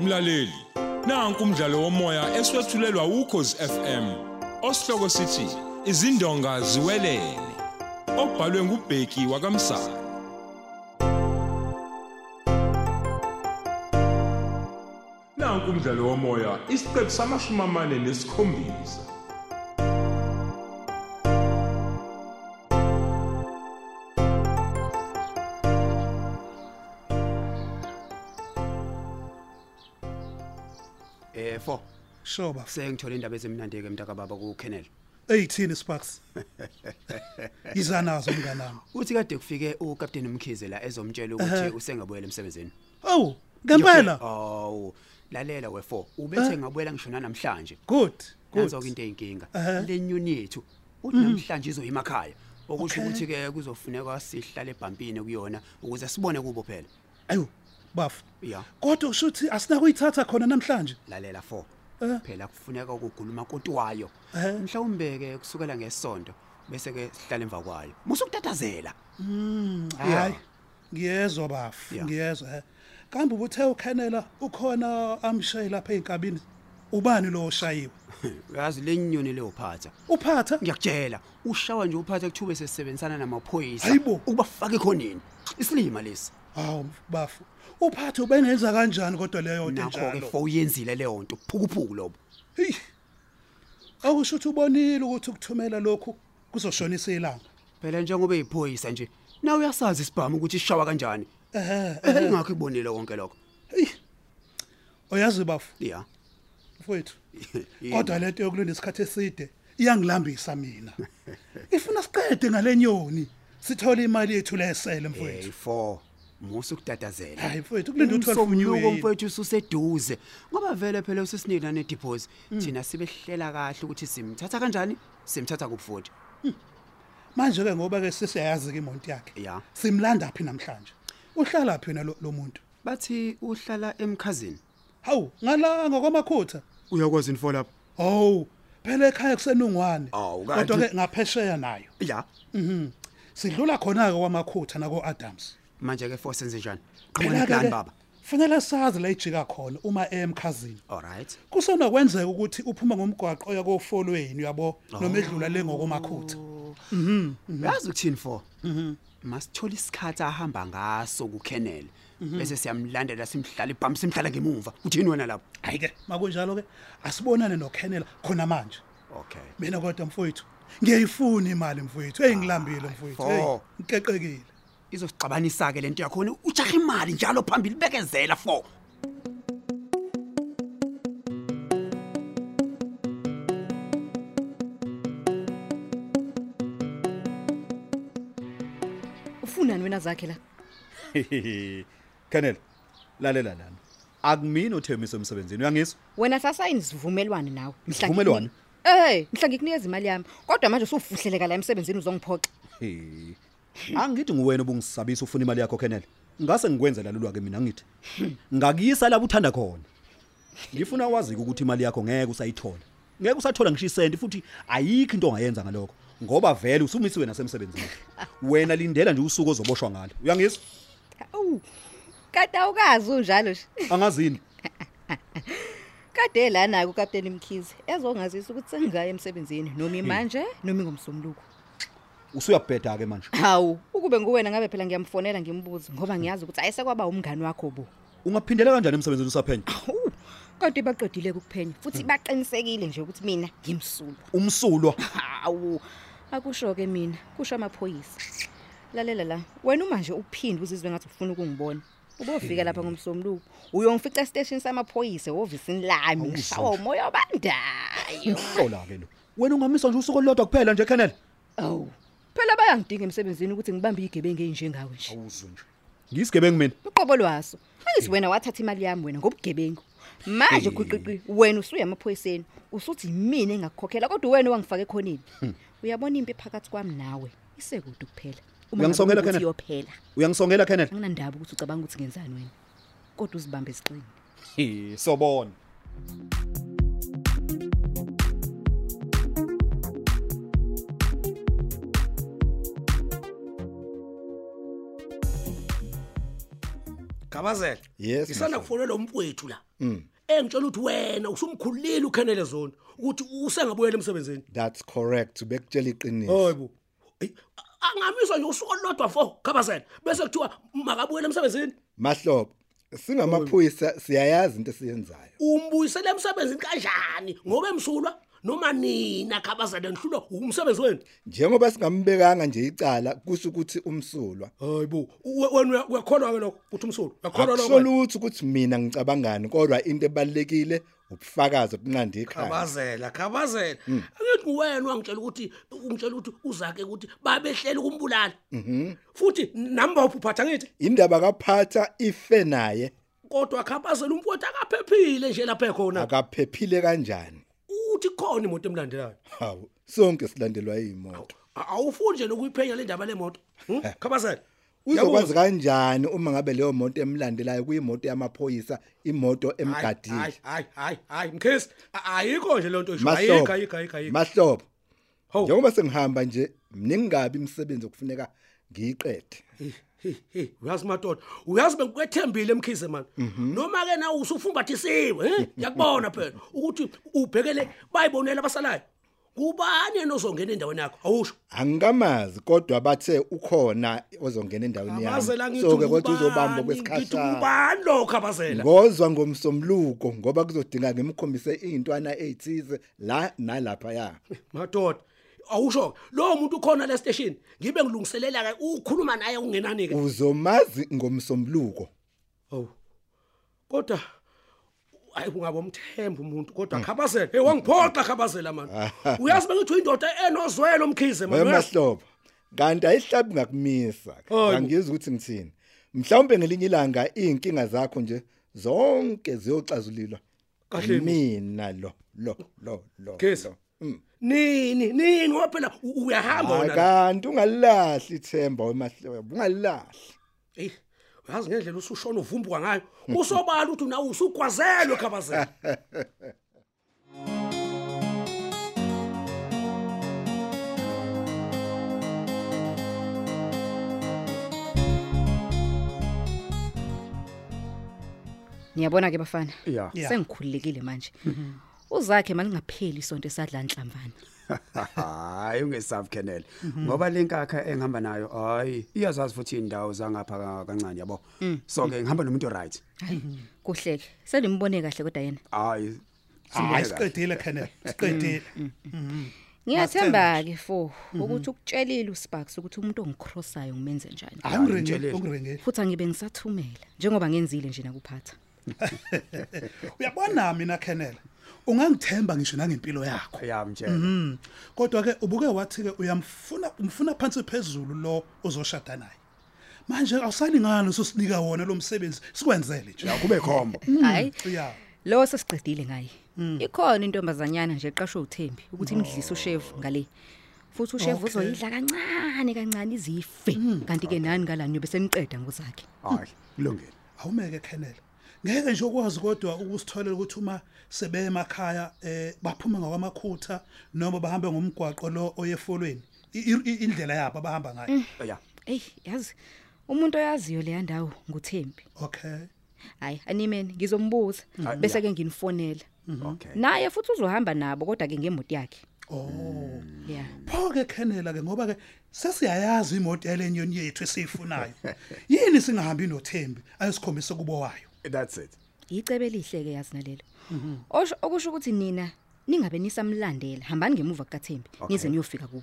Mlaleli, nanku umdlalo womoya eswetshulelwa ukhozi FM. Osihloko sithi izindonga ziwelele. Obhalwe ngubheki wakamsana. Nanku umdlalo womoya isiqephu samashumi amane nesikhombisa. Eh fo, Sho baba. sengithola indaba ezimnandi ke mntaka baba ku Kennel. Eyithini Sparks? Yiza nazo mnganami. Uthi kade kufike uCaptain Mkhize la ezomtshela ukuthi usengabuyela emsebenzini. Oh, ngempela. Oh, lalela wefo, ubethe ngabuyela ngishona namhlanje. Good. Good. Mm. Kuzo into eyinkinga. Ehhe. Le union yethu uthi namhlanje izoyima ekhaya. Okusho ukuthi ke kuzofuneka sihlale ebhampini kuyona ukuze sibone kubo phela. Ayo, bafu. Yeah. Kodwa ushuthi asina kuyithatha khona namhlanje. lalela fo Eh. phela kufuneka ukuguluma kotiwayo Eh. mhlawumbe ke kusukela ngesonto bese ke sihlale emva kwayo musukutatazela Mm, Hayi. Ngiyezwa bafu. Yeah. Ngiyezwa. eh. Kambe ubuthe ukhanela ukhona amshaye lapha einkabini. Ubani lo oshayiwe? yazi le nyoni leyophatha Uphatha? ngiyakutshela ushawa nje uphatha kuthiwa sesebenzisana namaphoyisa Hayibo. ukubafaka ekhoneni isilima lesi Hawu bafu. Uphatha ubengenza kanjani kodwa leyo nto nakho-ke njalo? fo uyenzile leyo nto phukuphuku lobo Hey. Awushuthi ubonile ukuthi ukuthumela lokhu kuzoshonisa ilanga. phela njengoba eyiphoyisa nje nawe uyasazi isibhamu ukuthi ishawa kanjani Ehhe. Eh, ingakho ikubonile konke lokho Hey. Oyazi bafu. ya mfowethu kodwa lento yokulinda isikhathi eside iyangilambisa mina ifuna siqede ngalenyoni sithole imali yethu lesele mfowethu fo musukutatazela hayi mfowethu kulinda uthola umsombuluko ufunyiwe mfowethu ususeduze ngoba vele phela usisinika nediphozi Mm. thina sibe hlela kahle ukuthi simthatha kanjani simthatha kubufuthi manje ke ngoba ke sesiyayazi ke imonti yakhe Ya. simlanda phi namhlanje uhlala phi yena lo lo muntu bathi uhlala emkhazini hawu ngala ngokwamakhutha uyakwazi info lapho hawu phela ekhaya kusenungwane Awu, kanti- kodwa ke ngaphesheya nayo ya sidlula khona ke kwamakhutha nako Adams manje ke force senze njani qhamuka Phela-ke plan ke, baba kufanele sazi la ijika khona uma emkhazini all right kusonokwenzeka ukuthi uphuma ngomgwaqo oya kofolweni yabo noma edlula lengokomakhutha yazi ukuthini fo masithola isikhathi ahamba ngaso kuKennel bese siyamlandela simhlala ibhamu simhlala ngemuva uthini wena lapho hayi ke makunjalo ke asibonane noKenneth khona manje okay mina kodwa mfowethu ngiyayifuna imali mfowethu eyingilambile mfowethu fo. hey ngikekekile izosixabanisa ke lento yakho ujaha imali njalo phambili bekezela fo ufunani wena zakhe la Kennel lalela lana akumini othemiso emsebenzini uyangizwa wena sasayini sivumelwane nawe Mhla Sivumelwano? ngikunika- Eh, mhla ngikunikeza imali yami. Kodwa manje usufuhleleka la emsebenzini uzongiphoxa. Hey. angithi nguwena obungisabisa ufuna imali yakho Kennel ngase ngikwenze lalulwa ke mina ngithi ngakuyisa lapho uthanda khona ngifuna wazi ukuthi imali yakho ngeke usayithola ngeke usathola ngisho isenti futhi ayikho into ongayenza ngalokho ngoba vele usumisiwe nasemsebenzini wena lindela nje usuku ozoboshwa ngalo uyangizwa Awu. Kade awukazi unjalo nje. angazini Kade lana ku Captain Mkhize ezongazisa ukuthi sengingaya emsebenzini noma manje noma ngomsomluko. usuyabheda ke manje Hawu, ukube nguwena ngabe phela ngiyamfonela ngimbuze ngoba ngiyazi ukuthi ayisekwaba umngani wakho bo. ungaphindela kanjani emsebenzini usaphenya Awu. Kodwa baqedile ukuphenya futhi baqinisekile nje ukuthi mina ngimsulwa. umsulwa Hawu. Akusho ke mina, kusho amaphoyisa. Lalela la, wena uma nje uphinde uzizwe ngathi ufuna ukungibona. Ubofika lapha ngomsomluko, uyongifica estation samaphoyisa ovisini lami, Awuzwa ngishawa nje. umoya obandayo. Ihlola ke lo. Wena ungamiswa nje usuku olodwa kuphela nje Kenneth. Aw. Phela bayangidinga emsebenzini ukuthi ngibambe igebenge enjengawe nje. Awuzwe nje. Ngisigebengu mina. Uqobo lwaso. Angizi wena wathatha imali yami wena ngobugebengu. Manje Eh. kuqiqi wena usuya emaphoyiseni, usuthi yimina engakukhokhela kodwa wena wangifake khonini. Uyabona impi phakathi kwami nawe, isekude kuphela. Uma ngabe Uyangisongela, ukuthi Kenneth? iyophela. Uyangisongela Kenneth. Anginandaba ukuthi ucabanga ukuthi ngenzani wena. Kodwa uzibambe isiqini. Eh, sobona. Gabazela. Yes, Ngisanda Mhlongo. kufonela umfowethu la. Mm. Engitshela ukuthi wena usumkhulile ukhenele zona ukuthi usengabuyela emsebenzini. That's correct. Bekutshela iqiniso. Hayibo. Eyi, a- Angamiswa nje usuku olodwa fo Gabazela bese kuthiwa makabuyele emsebenzini. Mahlobo, singamaphoyisa siyayazi into esiyenzayo. Umbuyisele emsebenzini kanjani ngoba emsulwa noma nina Gabazela nihlulo umsebenzi wenu. Njengoba singambekanga nje icala kusho ukuthi umsulwa. Hayibo. we- Wena uyakholwa ke lokho ukuthi umsulu. Uyakholwa lokho. Akusoluthi ukuthi mina ngicabangani kodwa into ebalekile ubufakazi obunqanda ikhaya. Khabazela, khabazela. Angithi wena wangitshela ukuthi ungitshela ukuthi uzake ukuthi babehlela ukumbulala. Mhm. Futhi namba uphuphatha ngithi Indaba kaphatha ife naye kodwa khabazela umfowethu akaphephile nje lapha ekhona. akaphephile kanjani? Uthi khona imoto emlandelayo. Hawu, sonke silandelwa yimoto. A- Awufuni nje nokuyiphenya le ndaba le moto. Hmm? Khabazela. Uzokwazi kanjani uma ngabe leyo moto emlandelayo kuyimoto yamaphoyisa, imoto emgadile? Hayi, hayi, hayi, mkhesi. A- Ayikho nje lento isho. Mahlobo. Ayikho, ayikho, ayikho, ayikho. Mahlobo. Ho. Njengoba sengihamba nje mningabi imisebenzi okufuneka ngiyiqede. Hey, hey, hey, uyazi madoda uyazi bengikwethembile emkhize mani noma ke nawe usufumbathisiwe eh? ngiyakubona phela ukuthi ubhekele bayibonela abasalayo kubani yena ozongena endaweni yakho awusho Angikamazi kodwa bathe ukhona ozongena endaweni abazela yami. ngithi So ke kodwa ngubani, uzobamba ngithi kwesikhathi. ubani lokho abazela Ngozwa ngomsomluko ngoba kuzodinga ngimkhombise izintwana ezithize la nalapha ya. madoda awusho lowo muntu ukhona le station ngibe ngilungiselela ke ukhuluma naye ungenani ke Uzomazi ngomsomluko. oh kodwa hayi ungabomthemba umuntu kodwa khabazela hey wangiphoxa khabazela mani uyazi bengithi uyindoda enozwelo mkhize mani uyazi? Wemahlobo. Kanti ayihlabi ngakumisa. Hayibo. Angizwe ukuthi ngithini. Mhlawumbe ngelinye ilanga izinkinga zakho nje zonke ziyoxazulilwa. Kahle bo. mina lo lo lo lo. Gesi. lo. Mm. nini nini ngoba phela u- uyahamba wona la. Akanti ungalahli ithemba wemahlobo. Ungalahli. Eyi, uyazi ngendlela usushona uvumbuka ngayo kusobala ukuthi nawe usugwazelwe khabazela Niyabona ke bafana. Ya. Ya. Sengikhululekile manje. Uzakhe malingapheli isonto esadla inhlambane. hayi ungesabi kennel ngoba lenkakha engihamba nayo hayi iyazazi futhi indawo zangapha kancane yabo so ke ngihamba nomuntu right Hayi. Kuhleke. Selimbone kahle kodwa yena. hayi hayi Mm, siqedile kennel siqedile Ngiyathemba ke fo Mhm. ukuthi ukutshelile uSparks ukuthi umuntu ongikrosayo ngimenze njani. hayi ungiringeli ungiringeli Futhi angibe ngisathumela njengoba ngenzile nje nakuphatha. uyabona mina kennel ungangithemba ngisho nangempilo yakho yamtshela Mm. kodwa ke ubuke wathi ke uyamfuna umfuna phansi phezulu lo ozoshada naye manje awusalingani usosinika wona lo msebenzi sikwenzele nje kube khombo Mhm. Hayi. uya Lo sesiqedile ngaye. Mhm. Ikhona intombazanyana nje eqashwe uThembi ukuthi imdlise uShevu ngale. Futhi Oh. uShevu Okay. Mhm. uzoyidla kancane kancane izife. Kanti ke nani kalani yobe seniqeda ngozakhe. hayi kulungile awumeke kennel ngeke nje ukwazi kodwa ukusitholela ukuthi uma sebe emakhaya eh baphuma ngokwamakhutha noma bahambe ngomgwaqo lo oyefolweni I- i- i- indlela yabo abahamba ngayo ya Ey, yazi umuntu oyaziyo leya ndawo nguThembi. okay Hayi, animeni ngizombuza bese ke nginifonela. Mhm. okay Naye futhi uzohamba nabo kodwa ke ngemoti yakhe. oh Yeah. pho ke kennela ke ngoba ke sesiyayazi imoto yalenyoni yethu esiyifunayo yini singahambi noThembi ayesikhombise kubo wayo that's it Icebe elihle ke yazi nalelo. Osho okusho ukuthi nina ningabe nisamlandela hambani ngemuva kukaThembi nize niyofika kubo.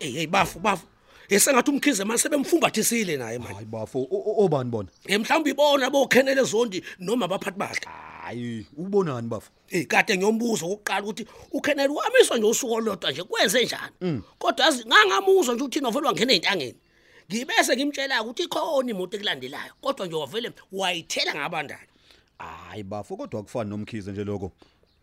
eyi hey bafu bafu esengathi umkhize mani sebemfumbathisile naye mani Hayi bafo, o- o- obani bona? Eh, mhlawumbe ibona bokhenele zondi noma abaphathi bakhe Hayi, ubonani bafo? eyi Eh, kade ngiyombuza okokuqala ukuthi ukhenele wamiswa nje usuku olodwa nje kwenze njani kodwa yazi ngangamuzwa nje ukuthi novele wangena ey'ntangeni ngibese ngimtshela-ke ukuthi ikhona imoto ekulandelayo kodwa nje wavele wayithela ngabandayo Hayi bafo, kodwa akufani nomkhize nje lokho.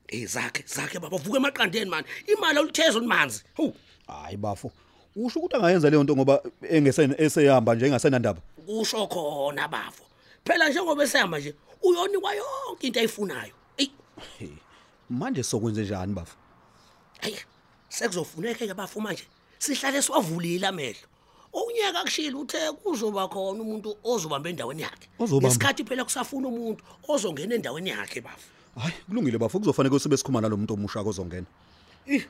eyi Eh, zakhe zakhe baba vuka emaqandeni mani imali oluthezo olumanzi hu Hayi bafo. Usho ukuthi angayenza leyo nto ngoba engesene esehamba nje engasenandaba. kusho khona bafo phela njengoba esehamba nje uyonikwa yonke into ayifunayo eyi Hey, manje sokwenze njani bafu? hayi sekuzofuneka ke bafu manje sihlale siwavulile amehlo unyaka kushilo uthe kuzoba khona umuntu ozobamba endaweni yakhe Ozobamba. ngesikhathi phela kusafuna umuntu ozongena endaweni yakhe bafu Hayi, kulungile bafu, kuzofanele sibe sikhumana lo muntu omusha kozongena. Ih,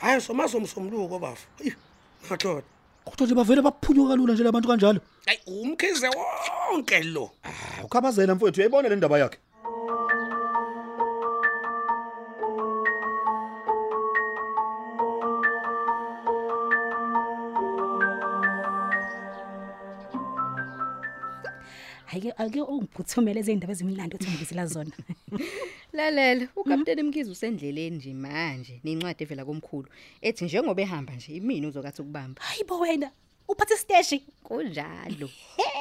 hayi somazomsomluko bafu Ih, ngaxoxa Kodwa nje bavele baphunyuka lula nje labantu kanjalo. hayi umkhize wonke lo Ah, ukhabazela mfowethu, uyayibona le ndaba yakhe. Ake ake ungiphuthumele izindaba ezimlando othembizela zona. lalela ukapteni mkizi usendleleni nje manje nencwadi evela komkhulu ethi njengoba ehamba nje imini uzokathi ukubamba Hayibo wena, uphathe isteshi. kunjalo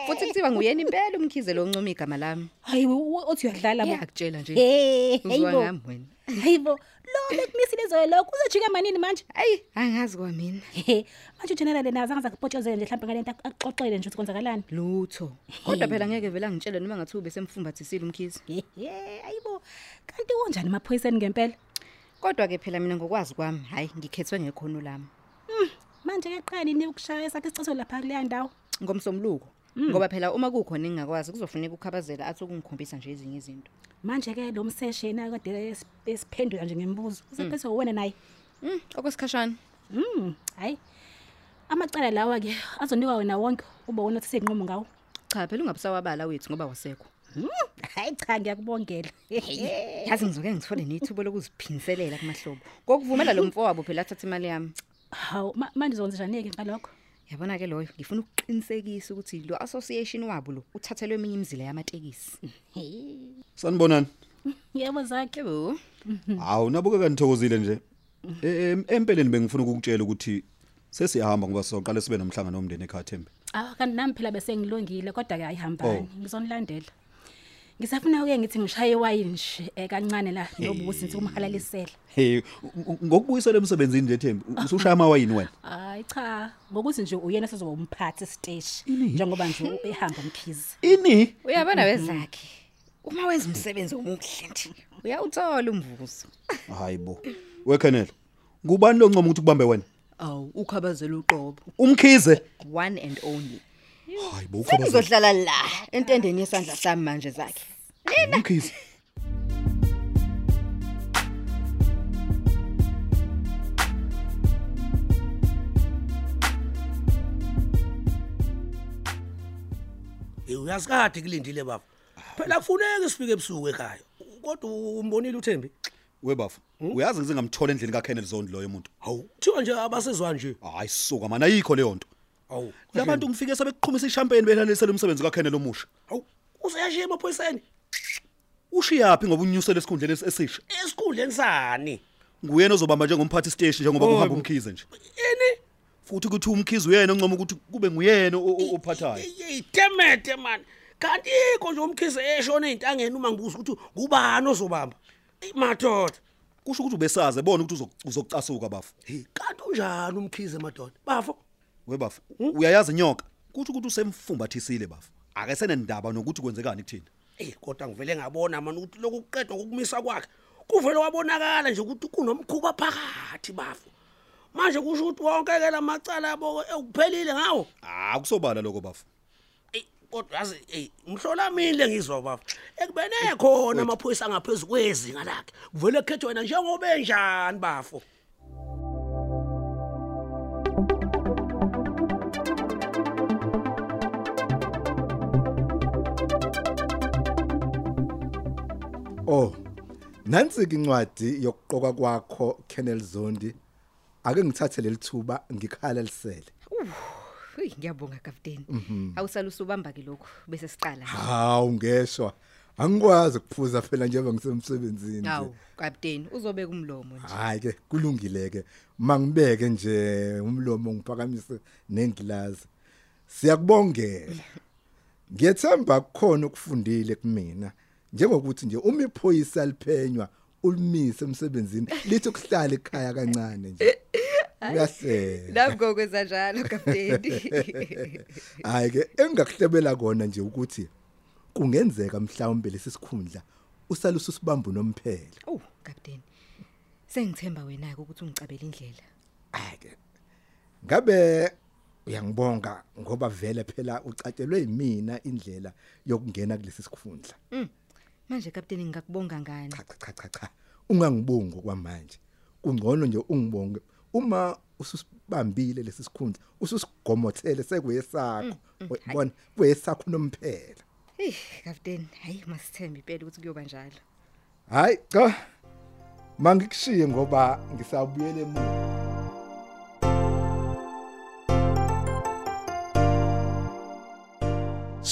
futhi kuthiwa nguyena impela umkhize lo oncoma igama lami Hayibo u- uthi uyadlala bo. ngiyakutshela nje Hey, uzwa hayibo. ngami wena Hayibo, lo bekumisile zoyo lokho uzojika manini manje? ayi angazi kwamina Ehe, manje ujenerali nazo angaza kupotshozele nje mhlawumbe ngalento akuxoxele nje ukuthi kwenzakalani. lutho kodwa phela ngeke vele angitshele noma ngathi ube semfumbathisile umkhize Ehe, hayibo. Kanti unjani emaphoyiseni ngempela? kodwa ke phela mina ngokwazi kwami hayi ngikhethwe ngekhono lami Manje ke qani ni ukushaya sakhe isicathulo lapha kuleya ndawo. ngomsomluko ngoba phela uma kukhona engingakwazi kuzofuneka ukukhabazela athi ukungikhombisa nje ezinye izinto Manje ke lo mseshi yena kade es- esiphendula nje Hmm. ngemibuzo. Usephethe wena naye. mm, okwesikhashana Mm, hayi. Amacala lawa ke azonikwa wena wonke ube wona othathe inqomo ngawo. cha phela ungabusawabala wethu ngoba wasekho Hmm, Hayi cha ngiyakubongela. yazi ngizoke ngithole nethuba lokuziphiniselela kumahlobo kokuvumela lo mfowabo phela athathe imali yami Hawu ma- manje uzokwenza njani ke ngalokho? yabona ke loyo ngifuna ukuqinisekisa ukuthi lo association wabo lo uthathelwe eminye imizila yamatekisi Sanibonani. Yebo zakhe. yebo Hawu, nabukeka nithokozile nje. Hmm. Em- Empeleni bengifuna ukukutshela ukuthi sesiyahamba ngoba soqale sibe nomhlangano nomndeni eKhathembe. Ah kanti nami phela bese ngilungile kodwa ke ayihambani. Oh. Ngizonilandela. Ngisafuna ke ngithi ngishaye wine nje eh, kancane la nobusi ngithi umhalalisela. Hey, u- u- ngokubuyisela emsebenzini nje Thembi, u- usushaya amawayini wena. Hayi cha, ngokuthi nje uyena sezoba umphathi stage njengoba nje ehamba umkhizi. Ini? uyabona wezakhe uma wenza umsebenzi omuhle nje uyawuthola umvuzo Hayibo. Wekhenele. Ngubani lo ncoma ukuthi kubambe wena? awu ukhabazela uqobo Umkhize. one and only Hayibo, ukhabazela. ngizodlala la entendeni yesandla sami manje zakhe Umkhize. Eh, uyasikade kulindile baba phela kufuneka sifike ebusuku ekhaya kodwa umbonile uthembi Webafu. Uyazi ngizingamthola endlini kaKenneth Zondi loyo muntu. hawu kuthiwa nje abasezwa nje Hayi suka mana ayikho leyo nto. hawu Labantu ngifike sebeqhumisa ishampeni behlalisele umsebenzi kaKenneth omusha. hawu useyashiya emaphoyiseni Ushiya phi ngoba unyusele esikhundleni es- esisha? esikhundleni sani Nguyena ozobamba njengomphathi station njengoba kuhamba umkhize nje. ini Futhi ukuthi umkhize uyena oncoma ukuthi kube nguyena o- o- ophathayo. yitemete mani kanti ikho nje umkhize eshona ey'ntangeni uma ngibuza ukuthi ngubani ozobamba Eyi, madoda Kusho ukuthi ubesaze bona ukuthi uzo- uzokucasuka bafu. Hey, kanti unjani umkhize madoda bafo Webafu. Uyayazi inyoka. Kuthi ukuthi usemfumbathisile bafu. Ake senendaba nokuthi kwenzekani kuthina. eyi kodwa ngivele ngabona mani ukuthi lokhu kuqedwa ngokumisa kwakhe kuvele wabonakala nje ukuthi kunomkhuba phakathi bafo manje kusho ukuthi wonke-ke la macala yabo ekuphelile ngawo Ah kusobala lokho bafu. Eyi, kodwa yazi eyi mhlolamile ngizwa bafo ekubene khona amaphoyisa angaphezu kwezinga lakhe kuvele kukhethwa wena njengoba enjani bafo Oh. Nansi ke incwadi yokuqoka kwakho Kennel Zondi. Ake ngithathe lelithuba ngikhala lisele. Uy, ngiyabonga kapteni Mhm. awusaluse ubamba ke lokhu bese siqala nje. Hawu ngeshwa. Angikwazi ukuphuza phela njengoba ngisemsebenzini. nje. awu kapteni uzobeka umlomo nje Hayi ke kulungile ke. Mangibeke nje umlomo ngiphakamise nengilazi. Siyakubongela. Ngiyethemba kukhona ukufundile kumina. Njengokuthi nje uma iphoyisa liphenywa ulimise emsebenzini lithi kuhlala ekhaya kancane nje. Uyasela. nami ngokwenza njalo kapteni Hayi ke engakuhlebela kona nje ukuthi kungenzeka mhlawumbe lesi sikhundla usalusa usibambu nomphela Oh, kapteni. Sengithemba wena ke ukuthi ungicabele indlela. ake ngabe uyangibonga ngoba vele phela ucatshelwe yimina indlela yokungena kulesi sikhundla Manje kapteni ngingakubonga ngani? cha cha cha cha cha ungangibongi kwamanje kungcono nje ungibonge uma ususibambile lesi sikhundla ususigomothele sekuyesakho uyabona kuyesakho nomphela Hey, kapteni, hayi masithembe impela ukuthi kuyoba njalo. hayi cha mangikushiye ngoba ngisabuyele emuva